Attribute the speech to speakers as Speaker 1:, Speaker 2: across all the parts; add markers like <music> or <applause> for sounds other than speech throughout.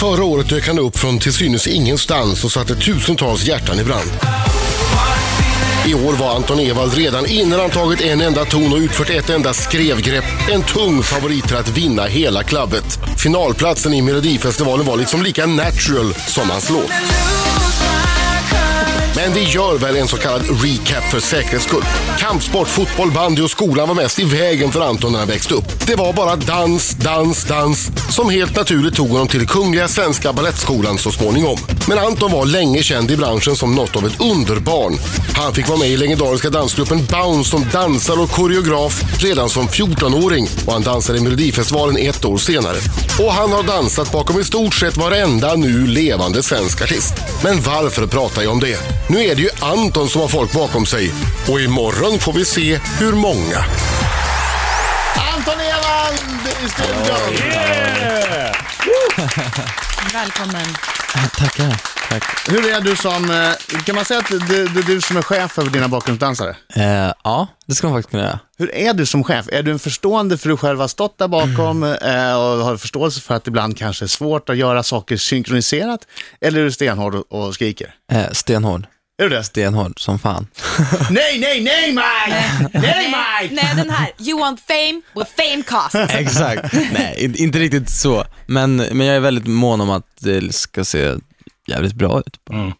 Speaker 1: Förra året dök han upp från till synes ingenstans och satte tusentals hjärtan i brand. I år var Anton Ewald redan innan han tagit en enda ton och utfört ett enda skrevgrepp en tung favorit till att vinna hela klabbet. Finalplatsen i Melodifestivalen var liksom lika natural som hans låt. Men vi gör väl en så kallad recap för säkerhets skull. Kampsport, fotboll, bandy och skolan var mest i vägen för Anton när han växte upp. Det var bara dans, dans, dans som helt naturligt tog honom till Kungliga Svenska Balettskolan så småningom. Men Anton var länge känd i branschen som något av ett underbarn. Han fick vara med i legendariska dansgruppen Bounce som dansare och koreograf redan som 14-åring och han dansade i Melodifestivalen ett år senare. Och han har dansat bakom i stort sett varenda nu levande svensk artist. Men varför pratar jag om det? Nu är det ju Anton som har folk bakom sig och imorgon får vi se hur många. Anton Ewald i studion!
Speaker 2: Välkommen.
Speaker 3: Tackar. Tack.
Speaker 4: Hur är du som, eh, kan man säga att det det- det är du som är chef över dina bakgrundsdansare?
Speaker 3: Eh, ja, det ska man faktiskt kunna göra.
Speaker 4: Hur är du som chef? Är du en förstående för du själv har stått där bakom eh, och har förståelse för att det ibland kanske är svårt att göra saker synkroniserat? Eller är du stenhård och- och skriker?
Speaker 3: Eh, stenhård.
Speaker 4: Är du det?
Speaker 3: Stenhård som fan.
Speaker 4: nej, nej, nej Mike! nej Mike!
Speaker 2: Nej, den här. You want fame? Well, fame costs.
Speaker 3: <laughs> Exakt. Nej, in- inte riktigt så. Men, men jag är väldigt mån om att det ska se jävligt bra ut. bara.
Speaker 5: Mm.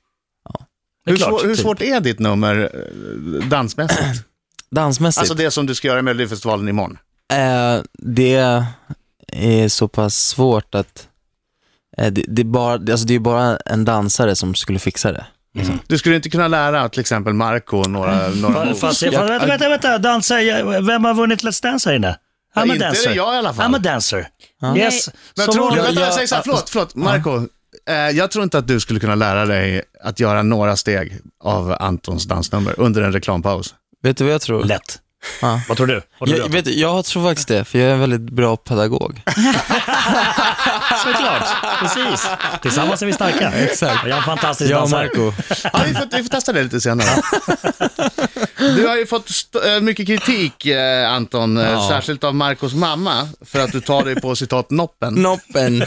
Speaker 4: Hur,
Speaker 5: klart,
Speaker 4: svår, hur
Speaker 3: typ.
Speaker 4: svårt är ditt nummer eh, dansmässigt?
Speaker 3: Dansmässigt,
Speaker 4: alltså det som du ska göra i Melodifestivalen imorgon.
Speaker 3: eh, det är så pass svårt att eh, det, det, är bara, det, alltså det är bara en dansare som skulle fixa det.
Speaker 4: Du skulle inte kunna lära till exempel Marco några, några moves?
Speaker 5: Fast, jag, vänta, vänta, vänta. Dansa, jag, vem har vunnit Let's Dance här inne? I'm
Speaker 4: Ja,
Speaker 5: a
Speaker 4: inte är det
Speaker 5: dancer.
Speaker 4: jag i alla fall.
Speaker 5: I'm a dancer.
Speaker 2: Nej.
Speaker 5: Yes.
Speaker 4: Men
Speaker 5: Som
Speaker 4: tror du,
Speaker 5: vanligt.
Speaker 4: vänta, jag säger så här, förlåt, förlåt, Marco. Eh, jag tror inte att du skulle kunna lära dig att göra några steg av Antons dansnummer under en reklampaus.
Speaker 3: Vet du vad jag tror?
Speaker 5: Lätt.
Speaker 3: Ja.
Speaker 5: Vad tror du? Vad tror
Speaker 3: Jag,
Speaker 5: du?
Speaker 3: vet, du, jag tror faktiskt det, för jag är en väldigt bra
Speaker 5: <laughs>
Speaker 3: pedagog.
Speaker 5: Såklart. Precis. Tillsammans är
Speaker 3: <laughs>
Speaker 5: vi starka. Exakt. Jag är en fantastisk
Speaker 3: Jag och
Speaker 5: dansare.
Speaker 3: Marco.
Speaker 4: Ja, vi, får, vi får testa det lite senare. Du har ju fått st- eh, mycket kritik, eh, Anton, eh, särskilt av Marcos mamma, för att du tar dig på citat noppen.
Speaker 3: Noppen.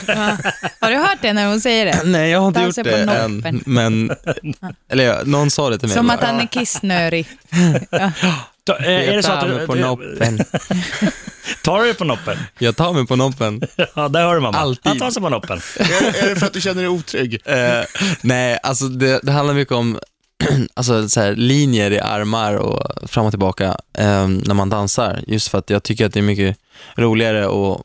Speaker 2: Har du hört det när hon säger det?
Speaker 3: Nej, jag har inte
Speaker 2: Dansa
Speaker 3: gjort
Speaker 2: på
Speaker 3: det
Speaker 2: noppen.
Speaker 3: än. Men,
Speaker 2: <laughs>
Speaker 3: eller ja, någon sa det till mig.
Speaker 2: Som
Speaker 3: bara.
Speaker 2: att han är kissnörig.
Speaker 5: Ta- eh, Är det
Speaker 3: jag
Speaker 5: så att
Speaker 3: tar mig
Speaker 5: du...
Speaker 3: på
Speaker 5: du- <laughs>
Speaker 3: noppen.
Speaker 5: Tar du dig på noppen?
Speaker 3: Jag tar mig på noppen.
Speaker 5: Ja, där hör du mamma.
Speaker 3: Alltid.
Speaker 5: Han tar sig på noppen.
Speaker 4: är, är det för att du känner dig otrygg?
Speaker 3: Eh, nej, alltså det, det handlar mycket om <clears throat> alltså, så här, linjer i armar och fram och tillbaka eh, när man dansar. Just för att jag tycker att det är mycket roligare och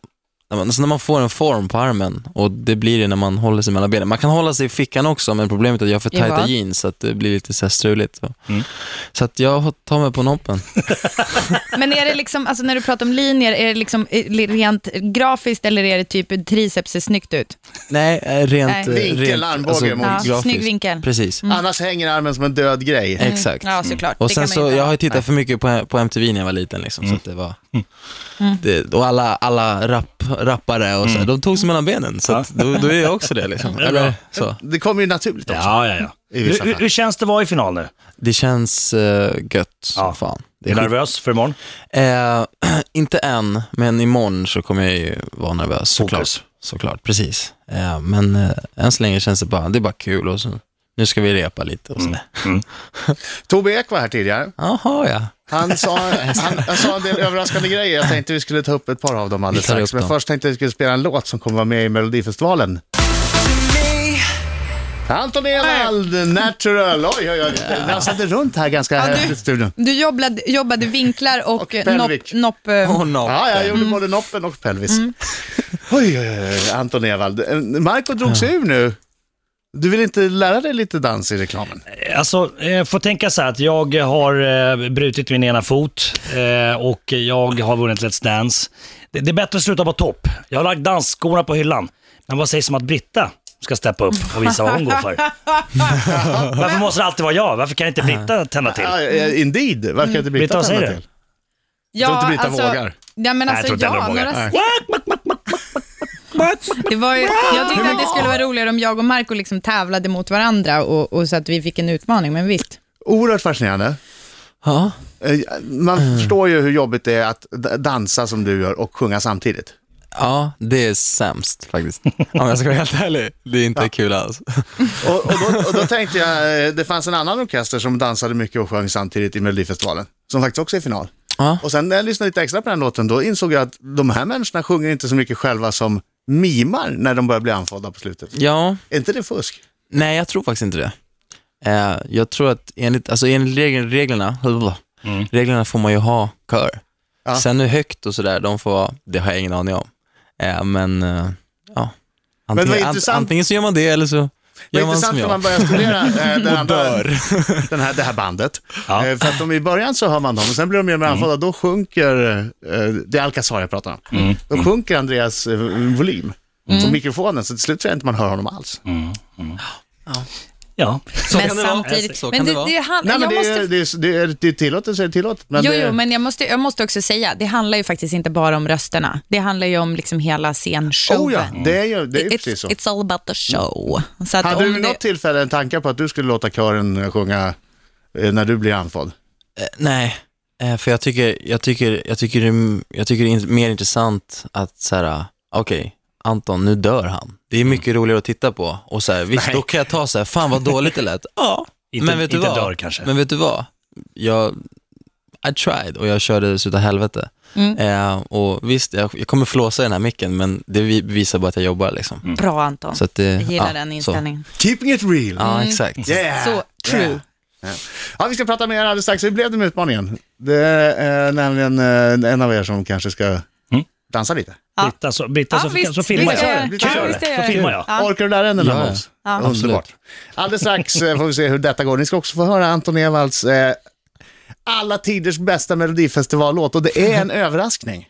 Speaker 3: när man, alltså när man får en form på armen och det blir det när man håller sig mellan benen. Man kan hålla sig i fickan också, men problemet är att jag har för
Speaker 2: I vad?
Speaker 3: tajta jeans så att det blir lite så här struligt. Så.
Speaker 5: Mm.
Speaker 3: så att jag tar mig på noppen.
Speaker 2: Men är det liksom, alltså när du pratar om linjer, är det liksom eh, rent grafiskt eller är det typ triceps ser snyggt ut?
Speaker 3: Nej, eh, rent...
Speaker 2: Nej.
Speaker 3: eh,
Speaker 4: Vinkel,
Speaker 3: rent,
Speaker 4: armbåge mot-
Speaker 2: Ja,
Speaker 3: grafiskt.
Speaker 2: snygg vinkel. Mm.
Speaker 3: Precis.
Speaker 4: Annars hänger armen som en död grej.
Speaker 3: Exakt.
Speaker 2: Ja, såklart.
Speaker 3: Och
Speaker 2: Det
Speaker 3: sen
Speaker 2: kan man
Speaker 3: så,
Speaker 2: inte
Speaker 3: jag
Speaker 2: ha.
Speaker 3: har ju tittat för mycket på, på MTV när jag var liten liksom, så att det var...
Speaker 2: Mm.
Speaker 3: Det, och alla, alla rap, rappare och så, här, de tog sig mellan benen, så att, då, då är jag också det liksom. Eller, så.
Speaker 4: Det kommer ju naturligt också.
Speaker 5: Ja, ja, ja.
Speaker 4: I vissa
Speaker 5: Hur, hur-
Speaker 4: fall.
Speaker 5: hur känns det att vara i final nu?
Speaker 3: Det känns eh, gött som
Speaker 5: Ja.
Speaker 3: fan. Det
Speaker 5: Är
Speaker 3: är
Speaker 5: du
Speaker 3: skit-
Speaker 5: nervös för imorgon?
Speaker 3: eh, <clears throat> inte än, men imorgon så kommer jag ju vara nervös såklart.
Speaker 5: Fokus.
Speaker 3: Såklart, precis. Eh, men eh, än så länge känns det bara, det är bara kul och så, nu ska vi repa lite och sådär.
Speaker 4: Tobbe Ek var här tidigare.
Speaker 3: Jaha ja.
Speaker 4: Han sa, han, han sa en del överraskande grejer. Jag tänkte vi skulle ta upp ett par av dem alldeles
Speaker 3: Vi tar
Speaker 4: strax.
Speaker 3: upp
Speaker 4: Men
Speaker 3: dem.
Speaker 4: först tänkte jag att vi skulle spela en låt som kommer vara med i Melodifestivalen. Anton Ewald, Natural. Oj, oj, oj. Vi har satt det runt här ganska häftigt i studion.
Speaker 2: Du jobbade, jobbade vinklar och,
Speaker 4: Och
Speaker 2: eh,
Speaker 4: pelvik.
Speaker 2: nopp... nopp eh,
Speaker 3: Och noppen.
Speaker 4: Ja, jag gjorde både noppen och pelvis. Oj, oj, oj, oj, Anton Ewald. Eh, Marco drog sig ur nu. Du vill inte lära dig lite dans i reklamen?
Speaker 5: Alltså, eh, får tänka så här att jag har eh, brutit min ena fot eh, och jag har vunnit Let's Dance. Det, det är bättre att sluta på topp. Jag har lagt dansskorna på hyllan. Men vad sägs om att Britta ska steppa upp och visa vad hon går för?
Speaker 4: <laughs>
Speaker 5: Varför måste det alltid vara jag? Varför kan inte Britta tända till?
Speaker 4: Ja, eh, indeed. Varför kan
Speaker 3: Mm.
Speaker 4: inte
Speaker 5: Britta,
Speaker 4: Britta
Speaker 5: vad säger
Speaker 4: tända
Speaker 5: du?
Speaker 4: till? tror inte Brita vågar.
Speaker 2: Ja, men
Speaker 5: Nej,
Speaker 2: alltså,
Speaker 5: jag tror inte
Speaker 2: ja,
Speaker 5: heller de
Speaker 2: några,
Speaker 5: vågar.
Speaker 2: det var ju, jag tyckte att det skulle vara roligare om jag och Marco liksom tävlade mot varandra och, och så att vi fick en utmaning, men visst.
Speaker 4: Oerhört fascinerande.
Speaker 3: Ja.
Speaker 4: Eh, Man förstår ju hur jobbigt det är att d- dansa som du gör och sjunga samtidigt.
Speaker 3: Ja, det är sämst faktiskt. <laughs> Om jag ska vara helt ärlig. Det är inte kul alls. <laughs>
Speaker 4: Och, och, då, och då tänkte jag, eh, det fanns en annan orkester som dansade mycket och sjöng samtidigt i Melodifestivalen, som faktiskt också är i final.
Speaker 3: Ja.
Speaker 4: Och sen när jag lyssnade lite extra på den här låten, då insåg jag att de här människorna sjunger inte så mycket själva som mimar när de börjar bli andfådda på slutet.
Speaker 3: ja,
Speaker 4: Är inte det fusk?
Speaker 3: nej jag tror faktiskt inte det. Eh, jag tror att enligt, alltså enligt reg- reglerna, reglerna får man ju ha kör.
Speaker 4: Ja.
Speaker 3: Sen hur högt och sådär, de får, det har jag ingen aning om. Eh, men eh, ja, antingen,
Speaker 4: vad
Speaker 3: an-
Speaker 4: intressant-
Speaker 3: antingen så gör man det eller så
Speaker 4: Det är
Speaker 3: gör man
Speaker 4: intressant när
Speaker 3: som jag.
Speaker 4: man börjar studera
Speaker 3: <laughs>
Speaker 4: eh, den
Speaker 3: och
Speaker 4: andra,
Speaker 3: dör.
Speaker 4: <laughs> den här, det här bandet.
Speaker 5: Ja.
Speaker 4: Eh, för att de, i början så hör man dem, och sen blir de mer och mer andfådda,
Speaker 3: Mm.
Speaker 4: då sjunker, eh, det är Alcazar jag pratar om,
Speaker 3: Mm.
Speaker 4: då sjunker Andreas eh, volym på mikrofonen, så till slut tror jag inte man hör honom alls.
Speaker 3: Mm.
Speaker 5: Ja.
Speaker 3: Så
Speaker 2: men
Speaker 3: kan det vara.
Speaker 2: samtidigt,
Speaker 3: Så
Speaker 2: men
Speaker 3: kan
Speaker 2: det,
Speaker 3: det vara.
Speaker 2: det, han-
Speaker 4: Nej, men
Speaker 2: jag
Speaker 4: det,
Speaker 2: måste
Speaker 4: är det, är, det, är, det är tillåtet så är det tillåtet. Men
Speaker 2: Jo,
Speaker 4: det,
Speaker 2: jo, men jag måste, jag måste också säga, det handlar ju faktiskt inte bara om rösterna. Det handlar ju om liksom hela scenshowen.
Speaker 4: oh, ja, det är ju det är ju precis så.
Speaker 2: it's, it's all about the show. Så att
Speaker 4: Hade
Speaker 2: om
Speaker 4: du vid något tillfälle en tanke på att du skulle låta kören sjunga eh, när du blir andfådd?
Speaker 3: Eh, Nej, eh, för jag tycker, jag tycker, jag tycker, det, är- jag tycker det är in- mer intressant att så här, ah, okej, Anton, nu dör han. Det är
Speaker 5: Mm.
Speaker 3: mycket roligare att titta på och så här, visst, då kan jag ta så här, fan vad dåligt det
Speaker 5: <laughs>
Speaker 3: lät. Ja,
Speaker 5: Inte,
Speaker 3: men vet du
Speaker 5: inte
Speaker 3: vad?
Speaker 5: dör kanske.
Speaker 3: Men vet du vad? Jag, I tried och jag körde så utav helvete.
Speaker 2: Mm.
Speaker 3: Eh, och visst, jag, jag kommer flåsa i den här micken, men det vi- visar bara att jag jobbar liksom.
Speaker 5: Mm.
Speaker 2: Bra Anton,
Speaker 3: Så att det,
Speaker 2: jag gillar
Speaker 3: ja,
Speaker 2: den
Speaker 3: så.
Speaker 2: inställningen. Mm.
Speaker 4: Keeping it real.
Speaker 3: Ja, exakt.
Speaker 4: Yeah.
Speaker 2: Så, true.
Speaker 4: Ja, vi ska prata mer alldeles strax. Hur blev det med utmaningen? Det är eh, nämligen eh, en av er som kanske ska dansa lite.
Speaker 5: Britta, så, Britta
Speaker 2: Ja,
Speaker 5: så,
Speaker 2: visst,
Speaker 5: så filmar
Speaker 2: visst,
Speaker 5: jag.
Speaker 4: Britta
Speaker 5: Så
Speaker 2: ja,
Speaker 5: kör
Speaker 2: visst,
Speaker 5: det.
Speaker 2: jag
Speaker 5: Så filmar jag.
Speaker 2: Ja.
Speaker 4: Orkar du lära dig den
Speaker 3: Ja,
Speaker 4: ja.
Speaker 2: Ja.
Speaker 4: Underbart. Alldeles strax eh, får vi se hur detta går. Ni ska också få höra Anton Ewalds eh, alla tiders bästa melodifestivallåt och det
Speaker 2: <laughs>
Speaker 4: är en överraskning.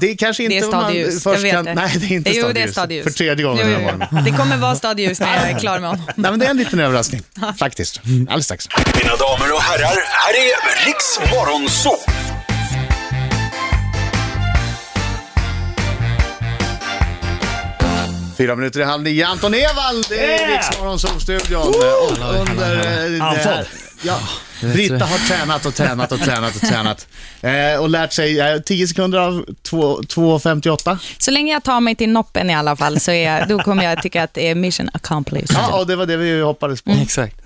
Speaker 4: Det är kanske inte
Speaker 2: Mhm. Det
Speaker 4: vad man
Speaker 2: är stadljus, jag
Speaker 4: först
Speaker 2: vet
Speaker 4: kan...
Speaker 2: det.
Speaker 4: Nej, det är inte
Speaker 2: Jo,
Speaker 4: stadljus.
Speaker 2: det är stadljus.
Speaker 4: För tredje gången
Speaker 2: Jo,
Speaker 4: den
Speaker 2: jo,
Speaker 4: här
Speaker 2: jo.
Speaker 4: morgonen.
Speaker 2: Det kommer vara stadljus när jag är klar
Speaker 4: <laughs>
Speaker 2: med honom.
Speaker 4: Nej, men det är en liten
Speaker 2: <laughs>
Speaker 4: överraskning, faktiskt. Alldeles strax.
Speaker 6: Mina damer och herrar, här är Riks Morgonzoo!
Speaker 4: Fyra minuter i halv nio. Anton Ewald i
Speaker 5: Yeah!
Speaker 4: Riksmorgon Solstudion. Och under... eh, det här-
Speaker 5: Anfådd.
Speaker 4: Ja, Britta har tränat och tränat och tränat och
Speaker 2: <laughs>
Speaker 4: tränat. Eh, och lärt sig eh, 10 sekunder av två- 2.58.
Speaker 2: Så länge jag tar mig till noppen i alla fall, så är jag, då kommer jag tycka att det är mission accomplished.
Speaker 4: Ja, och det var det vi hoppades
Speaker 2: Mm.
Speaker 4: på.
Speaker 3: Exakt.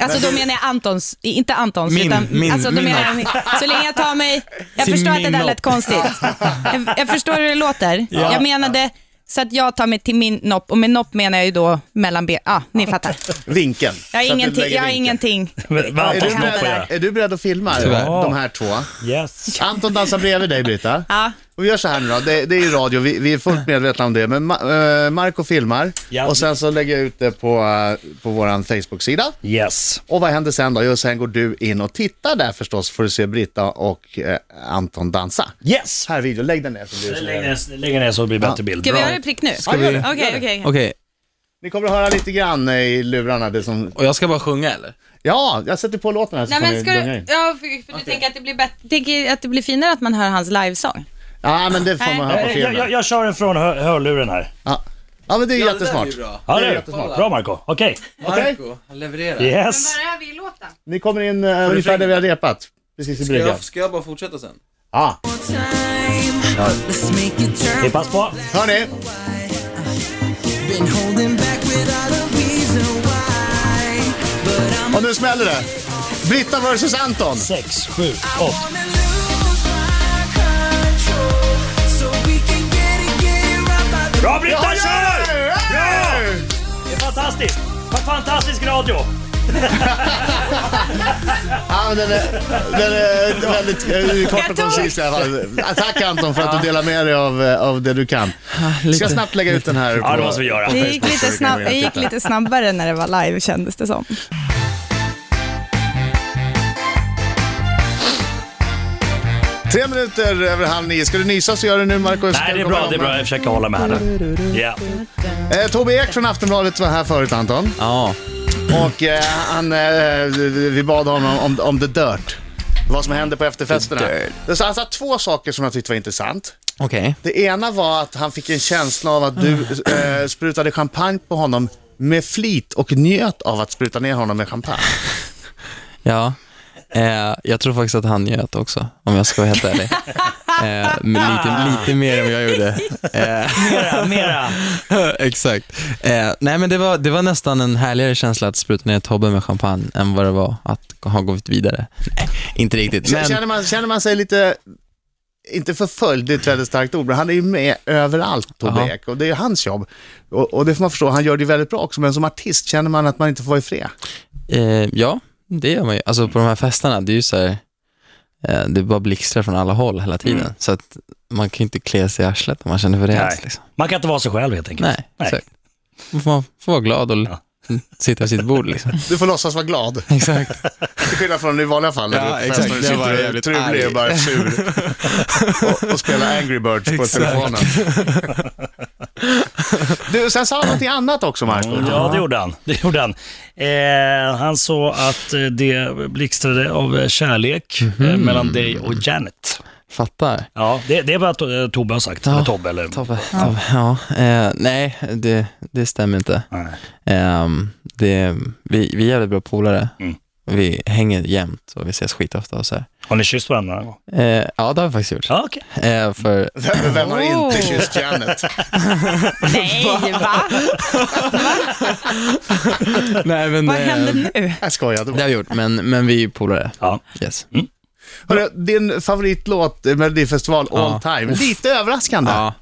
Speaker 2: Alltså då menar jag Antons, inte Antons,
Speaker 3: Min,
Speaker 2: utan
Speaker 3: min,
Speaker 2: alltså, då
Speaker 3: min
Speaker 2: menar jag, så länge jag tar mig, jag
Speaker 3: Till
Speaker 2: förstår att det
Speaker 3: min
Speaker 2: där lät
Speaker 3: nopp.
Speaker 2: konstigt. Jag, jag förstår hur det låter. Jag menade så att jag tar mig till min nopp och med nopp menar jag ju då mellan ben, ah, ni fattar.
Speaker 4: Vinkeln.
Speaker 2: Jag har
Speaker 4: Så att du
Speaker 2: ingenting,
Speaker 4: lägger
Speaker 2: jag har
Speaker 4: vinkeln.
Speaker 2: ingenting.
Speaker 5: Men vad
Speaker 4: Är
Speaker 5: Antons
Speaker 4: du,
Speaker 5: nopp att
Speaker 4: beredd,
Speaker 5: göra.
Speaker 4: är du beredd att filma
Speaker 3: Tyvärr.
Speaker 4: de här två?
Speaker 5: Yes.
Speaker 4: Anton dansar bredvid dig Britta.
Speaker 2: Ja.
Speaker 4: Och vi gör så här nu då, det, det är ju radio, vi, vi är fullt medvetna om det, men Ma- eh, Marco filmar
Speaker 5: Ja.
Speaker 4: och sen så lägger jag ut det på, eh, på vår Facebook-sida.
Speaker 5: Yes.
Speaker 4: Och vad händer sen då? Jo, sen går du in och tittar där förstås, får du se Britta och eh, Anton dansa.
Speaker 5: Yes.
Speaker 4: Här video, lägg den ner. Så blir det så
Speaker 5: Lägg
Speaker 4: här.
Speaker 5: ner, lägg ner så det blir bättre bild.
Speaker 2: Ska vi
Speaker 5: Bra.
Speaker 2: göra det prick nu?
Speaker 4: Ja, gör det.
Speaker 2: Okej,
Speaker 4: Gör det.
Speaker 2: okej.
Speaker 3: Okej,
Speaker 4: Ni kommer att höra lite grann eh, i lurarna. Det som...
Speaker 3: och jag ska bara sjunga eller?
Speaker 4: Ja, jag sätter på låten här så
Speaker 2: Nej
Speaker 4: får
Speaker 2: men
Speaker 4: ni
Speaker 2: ska
Speaker 4: dunga
Speaker 2: du,
Speaker 4: in.
Speaker 2: ja, för, för du tänker att det blir bättre, tänker att det blir finare att man hör hans livesång?
Speaker 4: Ja, men det får man höra på
Speaker 5: Eh, Jag, jag,
Speaker 4: filmen.
Speaker 5: jag kör den från hör, hörluren här.
Speaker 4: Ja, ja men det är jättesmart.
Speaker 5: Ja, det
Speaker 4: jättesmart.
Speaker 5: är bra Marco. Okej.
Speaker 4: Okej,
Speaker 3: han levererar.
Speaker 5: Yes.
Speaker 2: Börjar vi låten?
Speaker 4: ni kommer in eh, ungefär där vi har repat. Precis i bryggan.
Speaker 3: bara fortsätta sen?
Speaker 4: Ja,
Speaker 5: Vi pass på.
Speaker 4: hörni.
Speaker 7: Been holding back without a reason why. But I'm
Speaker 4: Och nu smäller det. Britta vs Anton.
Speaker 5: 6, 7, 8.
Speaker 7: gonna lose my control. So we can get it, get it right by the
Speaker 5: Bra Britta, kör!
Speaker 4: Hey!
Speaker 5: Det är fantastiskt. Vad Fantastisk radio.
Speaker 4: Ja, men den är, den är väldigt eh, kort och koncis i alla fall. Tack Anton för att du delar med dig av, eh, av det du kan. Ska jag snabbt lägga ut den här på
Speaker 5: Ah, Ja, det måste vi göra.
Speaker 4: på
Speaker 2: Det
Speaker 4: Facebook
Speaker 2: gick,
Speaker 4: så
Speaker 2: lite
Speaker 4: vi kan
Speaker 2: snabb,
Speaker 4: gå in och
Speaker 2: det gick
Speaker 4: titta.
Speaker 2: lite snabbare när det var live kändes det som.
Speaker 4: Tre minuter över halv nio. Ska du nysa så gör det nu Marco.
Speaker 5: Nej, det är bra. Det är bra. Jag försöker hålla med här nu. Ja.
Speaker 4: Eh, Tobbe Ek från Aftonbladet var här förut Anton.
Speaker 3: Ja,
Speaker 5: Mm.
Speaker 4: Och eh, han, eh, vi bad honom om, om the dirt. Vad som hände på efterfesterna. Så han sa två saker som jag tyckte var intressant.
Speaker 3: okej.
Speaker 4: Det ena var att han fick en känsla av att du eh, sprutade champagne på honom med flit och njöt av att spruta ner honom med champagne.
Speaker 3: <laughs> Ja. Eh, jag tror faktiskt att han njöt också, om jag ska vara helt ärlig. Eh, men lite, lite mer än vad jag gjorde. <laughs> Eh,
Speaker 5: Mera, mera.
Speaker 3: Exakt. Eh, nej, men det var, det var nästan en härligare känsla att spruta ner Tobbe med champagne än vad det var att ha gått vidare. Nej, inte riktigt.
Speaker 4: K-
Speaker 3: Men,
Speaker 4: Känner, man, känner man sig lite, inte förföljd, det är ett väldigt starkt ord, men han är ju med överallt, Tobbe
Speaker 3: Jaha.
Speaker 4: Ek, och det är ju hans jobb. Och, och det får man förstå, han gör det ju väldigt bra också, men som artist känner man att man inte får vara i fred.
Speaker 3: eh, ja, det gör man ju. Alltså på de här festerna, det är ju så här, eh, det bara blixtrar från alla håll hela tiden. Så att man kan ju inte klä sig i arslet om man känner för det.
Speaker 5: Nej.
Speaker 3: ens, Liksom.
Speaker 5: Man kan inte vara sig själv helt enkelt.
Speaker 3: Nej, exakt. Man får, man får vara glad och
Speaker 5: Ja.
Speaker 3: <laughs> sitta vid sitt bord liksom.
Speaker 4: Du får låtsas vara glad,
Speaker 3: <laughs> Exakt.
Speaker 4: till skillnad från i vanliga fall. när
Speaker 3: Ja,
Speaker 4: du
Speaker 3: exakt.
Speaker 4: festar och
Speaker 3: Jag var
Speaker 4: sitter
Speaker 3: jävligt
Speaker 4: Trulig
Speaker 3: arg.
Speaker 4: och bara <laughs> sur. och, och spelar Angry Birds på <laughs>
Speaker 3: Exakt.
Speaker 4: telefonen. Du, sen sa han någonting annat också, Marco.
Speaker 5: Ja, det gjorde han. Det gjorde han. Eh, han sa att eh, det blixtrade av eh, kärlek eh, mellan dig och Janet.
Speaker 3: Fattar.
Speaker 5: Ja, det, det är vad to- eh, Tobbe har sagt.
Speaker 3: Ja,
Speaker 5: Eller Tobbe eller...
Speaker 3: Tobbe, Tobbe, ja. Eh, nej, det, det stämmer inte.
Speaker 5: Nej.
Speaker 3: Ehm, det, vi, vi är jävligt bra polare.
Speaker 5: Mm.
Speaker 3: Vi hänger jämt och vi ses skitofta och så här.
Speaker 5: Har ni kysst varandra någon gång?
Speaker 3: Eh, ja, det har vi faktiskt gjort.
Speaker 5: Ja, okej.
Speaker 3: Eh, för,
Speaker 4: Vem, vem har inte kysst Janet?
Speaker 2: Nej, va?
Speaker 3: <laughs> nej, men,
Speaker 2: Vad
Speaker 3: eh,
Speaker 2: hände nu?
Speaker 4: <laughs> Jag skojar. det var-
Speaker 3: Det har vi gjort, men, men vi är polare.
Speaker 5: Ja.
Speaker 3: Yes.
Speaker 4: Hörru, din favoritlåt i Melodifestival all time. Lite överraskande.
Speaker 3: Ja,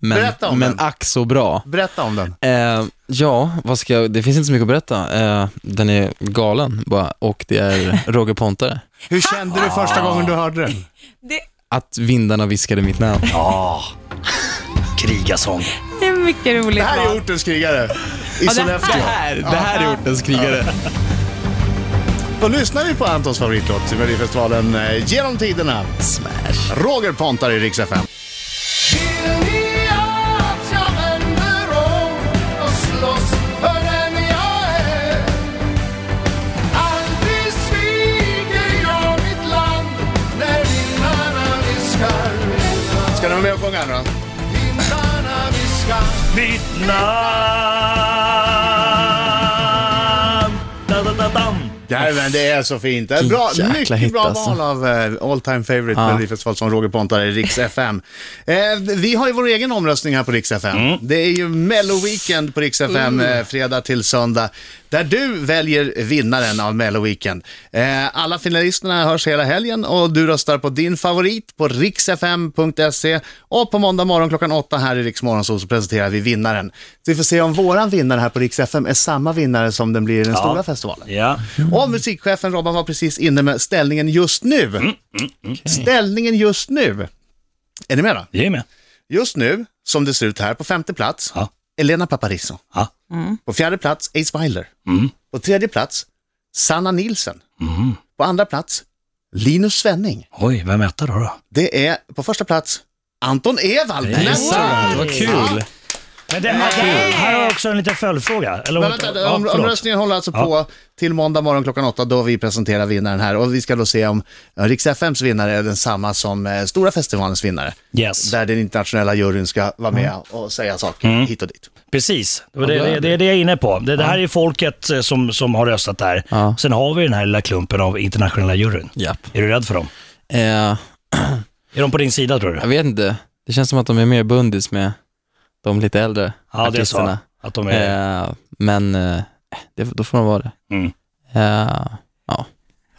Speaker 3: men,
Speaker 4: Berätta om
Speaker 3: men
Speaker 4: den.
Speaker 3: ack så bra.
Speaker 4: Berätta om den.
Speaker 3: Eh, ja, vad ska jag, det finns inte så mycket att berätta. Eh, den är galen bara och det
Speaker 5: <laughs>
Speaker 3: är Roger Pontare.
Speaker 4: Hur kände du första gången du hörde den?
Speaker 2: Det
Speaker 3: Att vindarna viskade mitt namn.
Speaker 5: Krigarsång.
Speaker 2: det är mycket roligt.
Speaker 4: Det här är ortens krigare i Sollefteå.
Speaker 3: här, det här är ortens krigare.
Speaker 4: Då lyssnar vi på Antons favoritlåt i Melodifestivalen eh, genom tiderna.
Speaker 3: Smash.
Speaker 4: Roger Pontar i Rix FM. Ska ni vara med och sjunga nu då?
Speaker 5: Mitt namn! Da, da, da, dam.
Speaker 4: Ja, men det är så fint. Det är bra,
Speaker 3: Vilken jäkla
Speaker 4: mycket
Speaker 3: hit,
Speaker 4: bra
Speaker 3: alltså.
Speaker 4: val av eh, all time favorite
Speaker 3: Ja.
Speaker 4: Melodifestival som Roger Pontare i
Speaker 3: <laughs>
Speaker 4: Rix FM. Eh, vi har ju vår egen omröstning här på Rix FM.
Speaker 3: Mm.
Speaker 4: Det är ju Mello-weekend på Rix FM eh, fredag till söndag. Där du väljer vinnaren av Mello-weekend. Eh, alla finalisterna hörs hela helgen och du röstar på din favorit på riksfm.se. Och på måndag morgon klockan åtta här i Rix Morgonzoo så presenterar vi vinnaren. Så vi får se om våran vinnare här på Rix FM är samma vinnare som den blir i den stora festivalen.
Speaker 5: Ja.
Speaker 4: Och musikchefen Robban var precis inne med ställningen just nu.
Speaker 5: Mm,
Speaker 4: Ställningen just nu. Är ni med då?
Speaker 5: Jag är med.
Speaker 4: Just nu, som det ser ut här, på femte plats,
Speaker 5: Ja.
Speaker 4: Elena Paparizou.
Speaker 5: Ja. Mm.
Speaker 4: På fjärde plats, Ace Wilder. På tredje plats, Sanna Nilsen. På andra plats, Linus Svenning.
Speaker 5: Oj, vem etta då? då?
Speaker 4: Det är på första plats, Anton Ewald.
Speaker 5: Nej,
Speaker 4: Nästa.
Speaker 3: Sant, vad kul.
Speaker 5: Men det, här, här har jag också en liten följdfråga. Eller,
Speaker 4: Men
Speaker 5: om-
Speaker 4: vänta,
Speaker 5: ja,
Speaker 4: om,
Speaker 5: förlåt.
Speaker 4: omröstningen håller alltså på till måndag morgon klockan åtta då vi presenterar vinnaren här och vi ska då se om eh, Rix FMs vinnare är densamma som eh, Stora festivalens vinnare.
Speaker 5: Yes.
Speaker 4: Där den internationella juryn ska vara med
Speaker 3: Mm.
Speaker 4: och säga saker hit och dit.
Speaker 5: Precis, det, var det, det, det är det jag är inne på. Det, det här är folket eh, som, som har röstat där.
Speaker 3: Ja.
Speaker 5: Sen har vi den här lilla klumpen av internationella juryn.
Speaker 3: Japp.
Speaker 5: Är du rädd för dem?
Speaker 3: Eh,
Speaker 5: Är de på din sida tror du?
Speaker 3: jag vet inte. Det känns som att de är mer bundis med de lite äldre
Speaker 5: Ja, det är så.
Speaker 3: artisterna.
Speaker 5: Att de är...
Speaker 3: Eh, men eh, det, då får de vara det.
Speaker 5: Mm.
Speaker 3: Eh,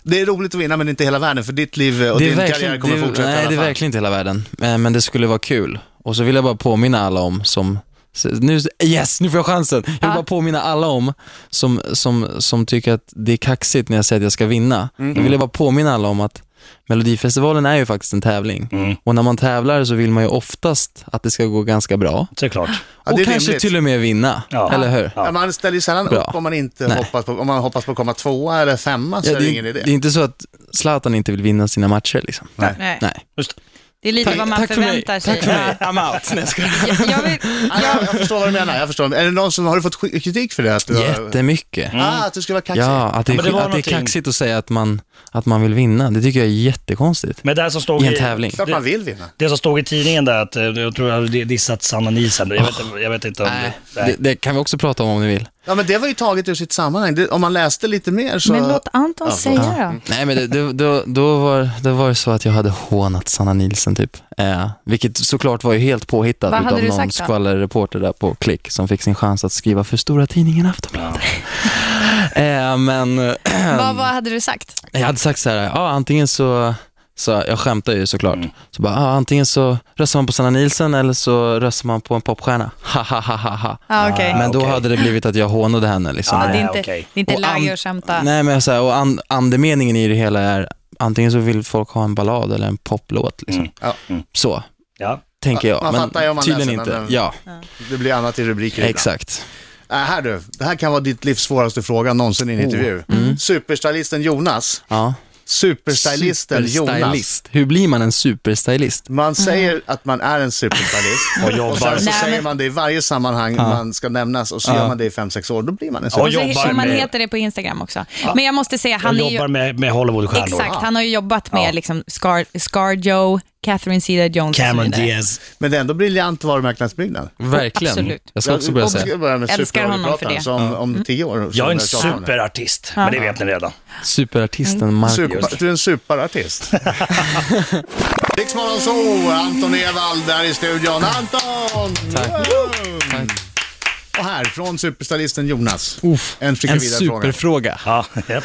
Speaker 4: Det är roligt att vinna men inte hela världen för ditt liv och
Speaker 3: det
Speaker 4: din
Speaker 3: är verkligen-
Speaker 4: karriär kommer
Speaker 3: det är-
Speaker 4: fortsätta i
Speaker 3: Nej,
Speaker 4: alla
Speaker 3: det är
Speaker 4: fall.
Speaker 3: verkligen inte hela världen. Eh, men det skulle vara kul. Och så vill jag bara påminna alla om som så- nu, yes, nu får jag chansen. Jag vill bara påminna alla om som, som, som tycker att det är kaxigt när jag säger att jag ska vinna.
Speaker 2: Mhm.
Speaker 3: Då vill jag bara påminna alla om att Melodifestivalen är ju faktiskt en tävling.
Speaker 2: Mm.
Speaker 3: Och när man tävlar så vill man ju oftast att det ska gå ganska bra.
Speaker 5: Såklart.
Speaker 4: Ja, det
Speaker 3: och
Speaker 4: är
Speaker 3: kanske
Speaker 4: rimligt.
Speaker 3: till och med vinna,
Speaker 5: Ja.
Speaker 3: eller hur?
Speaker 4: Ja, man ställer ju sällan
Speaker 3: Bra.
Speaker 4: upp om man inte
Speaker 3: Nej.
Speaker 4: hoppas på, om man hoppas på att komma tvåa eller femma så
Speaker 3: Ja,
Speaker 4: är det
Speaker 3: det,
Speaker 4: ingen idé.
Speaker 3: det är inte så att Zlatan inte vill vinna sina matcher liksom.
Speaker 2: Nej.
Speaker 3: Nej.
Speaker 5: Just det.
Speaker 2: Det är lite vad man
Speaker 3: för mig.
Speaker 2: förväntar sig.
Speaker 3: Tack för mig. <laughs> I'm out. Nej, jag skojar.
Speaker 2: Ja. Jag, jag
Speaker 4: <laughs>
Speaker 2: vill,
Speaker 4: Ja, jag, jag förstår vad du menar. Jag förstår. Är det någon som, har du fått sk- kritik för det? Att du, har-
Speaker 3: Jättemycket.
Speaker 4: ah, att du ska vara kaxig?
Speaker 3: Ja, att det,
Speaker 5: Mm. Ja, men
Speaker 3: är,
Speaker 5: det var
Speaker 3: att det är
Speaker 5: någonting.
Speaker 3: kaxigt att säga att man, att man vill vinna, det tycker jag är jättekonstigt.
Speaker 5: Men det här som stod
Speaker 3: I en
Speaker 5: i,
Speaker 3: tävling.
Speaker 4: Klart man vill vinna.
Speaker 5: det som stod i tidningen där, att eh, jag tror jag hade dissat Sanna Nielsen. Jag vet, jag vet inte om
Speaker 3: Nej,
Speaker 5: det... Nej.
Speaker 3: det, det kan vi också prata om om ni vill.
Speaker 4: Ja, men det var ju taget ur sitt sammanhang. Det, om man läste lite mer så...
Speaker 2: men låt Anton säga då.
Speaker 3: Nej, men det, det, då, då, var, då var det så att jag hade hånat Sanna Nilsson låten typ. Eh, vilket såklart var ju helt påhittat
Speaker 2: Vad hade
Speaker 3: utav
Speaker 2: du
Speaker 3: någon
Speaker 2: sagt då?
Speaker 3: skvallerreporter där på Klick som fick sin chans att skriva för stora tidningen Aftonbladet. <laughs> eh, men
Speaker 2: Vad, vad hade du sagt?
Speaker 3: jag hade sagt så här, ja antingen så, så jag skämtar ju såklart,
Speaker 4: Mm.
Speaker 3: så bara, ja, antingen så röstar man på Sanna Nilsson eller så röstar man på en popstjärna. Ha, ha, ha, ha, ha.
Speaker 2: Ja, okej.
Speaker 3: Men då
Speaker 5: okej.
Speaker 3: hade det blivit att jag hånade henne liksom.
Speaker 2: Ja, det är
Speaker 5: nej,
Speaker 2: inte,
Speaker 5: okej.
Speaker 2: det är inte
Speaker 3: Och an-
Speaker 2: läge att skämta.
Speaker 3: Nej men så här, och an- andemeningen i det hela är, antingen så vill folk ha en ballad eller en poplåt liksom.
Speaker 4: Mm. Ja.
Speaker 3: Så,
Speaker 5: Ja.
Speaker 3: tänker jag.
Speaker 4: Man
Speaker 3: men
Speaker 4: fattar ju om man
Speaker 3: tydligen
Speaker 4: läser
Speaker 3: inte.
Speaker 4: den.
Speaker 3: Ja,
Speaker 4: Det blir annat i rubriker ibland.
Speaker 3: exakt.
Speaker 4: Äh, här du, det här kan vara ditt livs svåraste fråga någonsin i en intervju. Superstylisten Jonas.
Speaker 3: Ja.
Speaker 4: Superstylisten Jonas.
Speaker 3: Superstylist. Hur blir man en superstylist?
Speaker 4: Man säger att man är en superstylist <laughs>
Speaker 5: Och
Speaker 4: och
Speaker 5: jobbar.
Speaker 4: sen så
Speaker 2: Mm. Nej,
Speaker 4: säger
Speaker 2: men-
Speaker 4: man det i varje sammanhang man ska nämnas och så gör man det i fem sex år, då blir man en
Speaker 5: Och
Speaker 4: superstylist.
Speaker 2: Och så,
Speaker 5: jobbar
Speaker 2: och man
Speaker 5: med-
Speaker 2: heter det på Instagram också. Men jag måste säga, han
Speaker 5: jag
Speaker 2: är ju...
Speaker 5: jobbar med, med Hollywoodstjärnor.
Speaker 2: Exakt, han har ju jobbat med liksom Scar, Scar Joe, Catherine Zeta-Jones
Speaker 5: Cameron Diaz.
Speaker 4: Men det är ändå briljant varumärkesbyggnad.
Speaker 3: Verkligen.
Speaker 2: Absolut.
Speaker 3: Jag ska också börja
Speaker 4: Jag
Speaker 3: säga.
Speaker 4: ska börja Mm. med
Speaker 2: Älskar honom för
Speaker 4: superradiopratan,
Speaker 2: det.
Speaker 4: så om, om tio år. så
Speaker 5: Jag är en
Speaker 4: tjatar om det.
Speaker 5: superartist, men det vet ni redan.
Speaker 3: Superartisten Marcus.
Speaker 4: Super, du är en superartist. <laughs> Riksmorgon så, Anton Ewald där i studion. Anton!
Speaker 3: Tack.
Speaker 4: Wow!
Speaker 3: Tack.
Speaker 4: Och här, från superstylisten Jonas. en skicka
Speaker 3: En
Speaker 4: vidare fråga.
Speaker 3: superfråga.
Speaker 5: Ja, japp.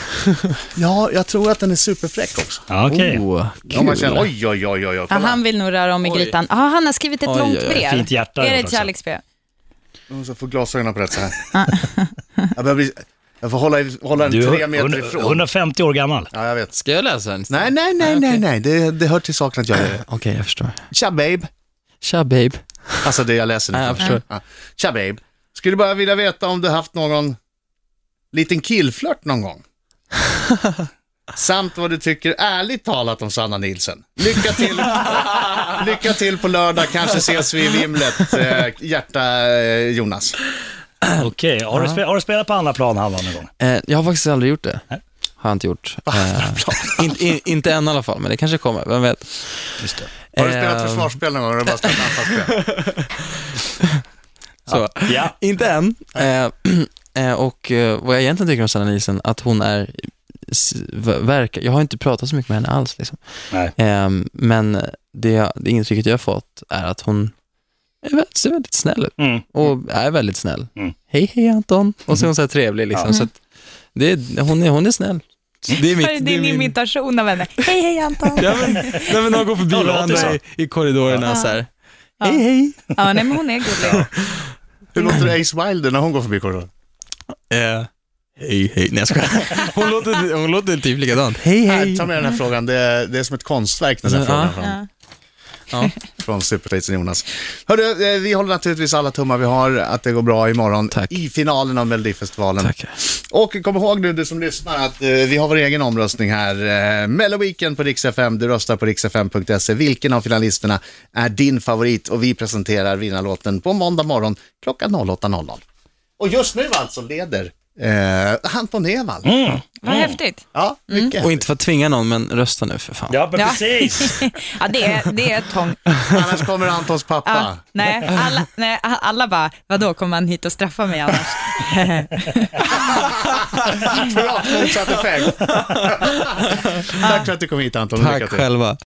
Speaker 4: Ja, jag tror att den är superfräck också.
Speaker 5: ja okej.
Speaker 3: Oh,
Speaker 4: Om man
Speaker 3: kul.
Speaker 4: känner, oj, oj, oj, oj, oj.
Speaker 2: Ja,
Speaker 4: kolla.
Speaker 2: han vill nog röra om i grytan. Ja, han har skrivit ett
Speaker 3: Oj,
Speaker 2: långt
Speaker 3: oj, oj,
Speaker 2: brev.
Speaker 5: fint hjärta
Speaker 2: Är det ett
Speaker 5: också.
Speaker 2: kärleksbrev?
Speaker 4: Jag måste få glasögonen på rätt så här. <laughs> jag, börjar bli, jag får hålla, i- hålla den
Speaker 5: Du
Speaker 4: tre
Speaker 5: är
Speaker 4: meter
Speaker 5: 100
Speaker 4: ifrån.
Speaker 5: 150 år gammal.
Speaker 4: Ja, jag vet.
Speaker 3: Ska jag läsa den?
Speaker 4: Nej, nej, nej, nej, nej. Det, det hör till saken att jag gör det.
Speaker 3: Okej, jag förstår.
Speaker 4: Tja, babe.
Speaker 3: Tja babe.
Speaker 4: Alltså det jag läser nu.
Speaker 3: Ja, jag förstår.
Speaker 4: Ja. Tja babe, skulle bara vilja veta om du haft någon liten killflört någon
Speaker 3: <laughs>
Speaker 4: gång? Samt vad du tycker ärligt talat om Sanna Nilsen. Lycka till, lycka till på lördag, kanske ses vi i vimlet. Eh, hjärta eh, Jonas.
Speaker 5: Okej, har, du spe- har du spelat på andra plan Hanna någon gång?
Speaker 3: Eh, jag har faktiskt aldrig gjort det. Har jag inte gjort.
Speaker 4: <laughs>
Speaker 3: Eh, in, in, inte än i alla fall, men det kanske kommer. Vem vet?
Speaker 4: Har du spelat
Speaker 3: Eh,
Speaker 4: försvarsspel någon gång? Har du bara spelat anfallsspel?
Speaker 3: Så.
Speaker 5: Ja.
Speaker 3: Inte än. Eh, eh, <clears throat> och eh, vad jag egentligen tycker om Sanna Nielsen, att hon är s- ver- verkar, jag har inte pratat så mycket med henne alls liksom.
Speaker 5: Nej.
Speaker 3: Eh, men det, jag- det intrycket jag har fått är att hon är väldigt, ser väldigt snäll ut
Speaker 5: Mm.
Speaker 3: och är väldigt snäll.
Speaker 5: Mm.
Speaker 3: Hej hej Anton, och så är hon så här trevlig liksom. Så att det, är- hon, är, hon är snäll. Så <laughs> Det är
Speaker 2: Var det
Speaker 3: mitt, det är
Speaker 2: din
Speaker 3: min,
Speaker 2: imitation av henne? Hej, hej Anton.
Speaker 3: Ja, men, nej, men de går förbi
Speaker 5: Ja, låter
Speaker 3: varandra
Speaker 5: så.
Speaker 3: i, i korridorerna så här. Hej hej.
Speaker 2: Ja, nej, men hon är gullig.
Speaker 4: Hur låter det Ace Wilder när hon går förbi korridoren?
Speaker 3: Eh, hej hej. Nej jag
Speaker 5: <laughs>
Speaker 3: skojar. Hon låter, hon låter typ likadant. Hej
Speaker 4: Nej,
Speaker 3: hej.
Speaker 4: Ta med den här frågan, det är, det är som ett konstverk den här
Speaker 3: Ja.
Speaker 4: frågan från,
Speaker 2: Ja.
Speaker 3: Ja.
Speaker 4: från Supertejsen Jonas. Hörru, eh, vi håller naturligtvis alla tummar vi har att det går bra imorgon
Speaker 3: Tack.
Speaker 4: i finalen av Melodifestivalen.
Speaker 3: Tackar.
Speaker 4: Och kom ihåg nu du som lyssnar att eh, vi har vår egen omröstning här. Eh, Melloweekend på Rix FM, du röstar på riksfm.se. Vilken av finalisterna är din favorit? Och vi presenterar vinnarlåten på måndag morgon klockan 08.00. Och just nu alltså leder eh, Anton Ewald.
Speaker 2: Vad häftigt.
Speaker 4: Ja, mycket.
Speaker 3: Mm. Och inte för att tvinga någon, men rösta nu för fan.
Speaker 5: Ja, men
Speaker 2: Ja.
Speaker 5: precis.
Speaker 2: <laughs> Ja, det är, det är ett tång.
Speaker 4: Annars kommer Antons pappa.
Speaker 2: Ja, nej, alla, nej, alla bara, vadå, kommer han hit och straffa mig annars? <laughs>
Speaker 4: Bra, motsatt effekt. Tack för att du kom hit Anton. Lycka
Speaker 3: Tack
Speaker 4: till.
Speaker 3: själva.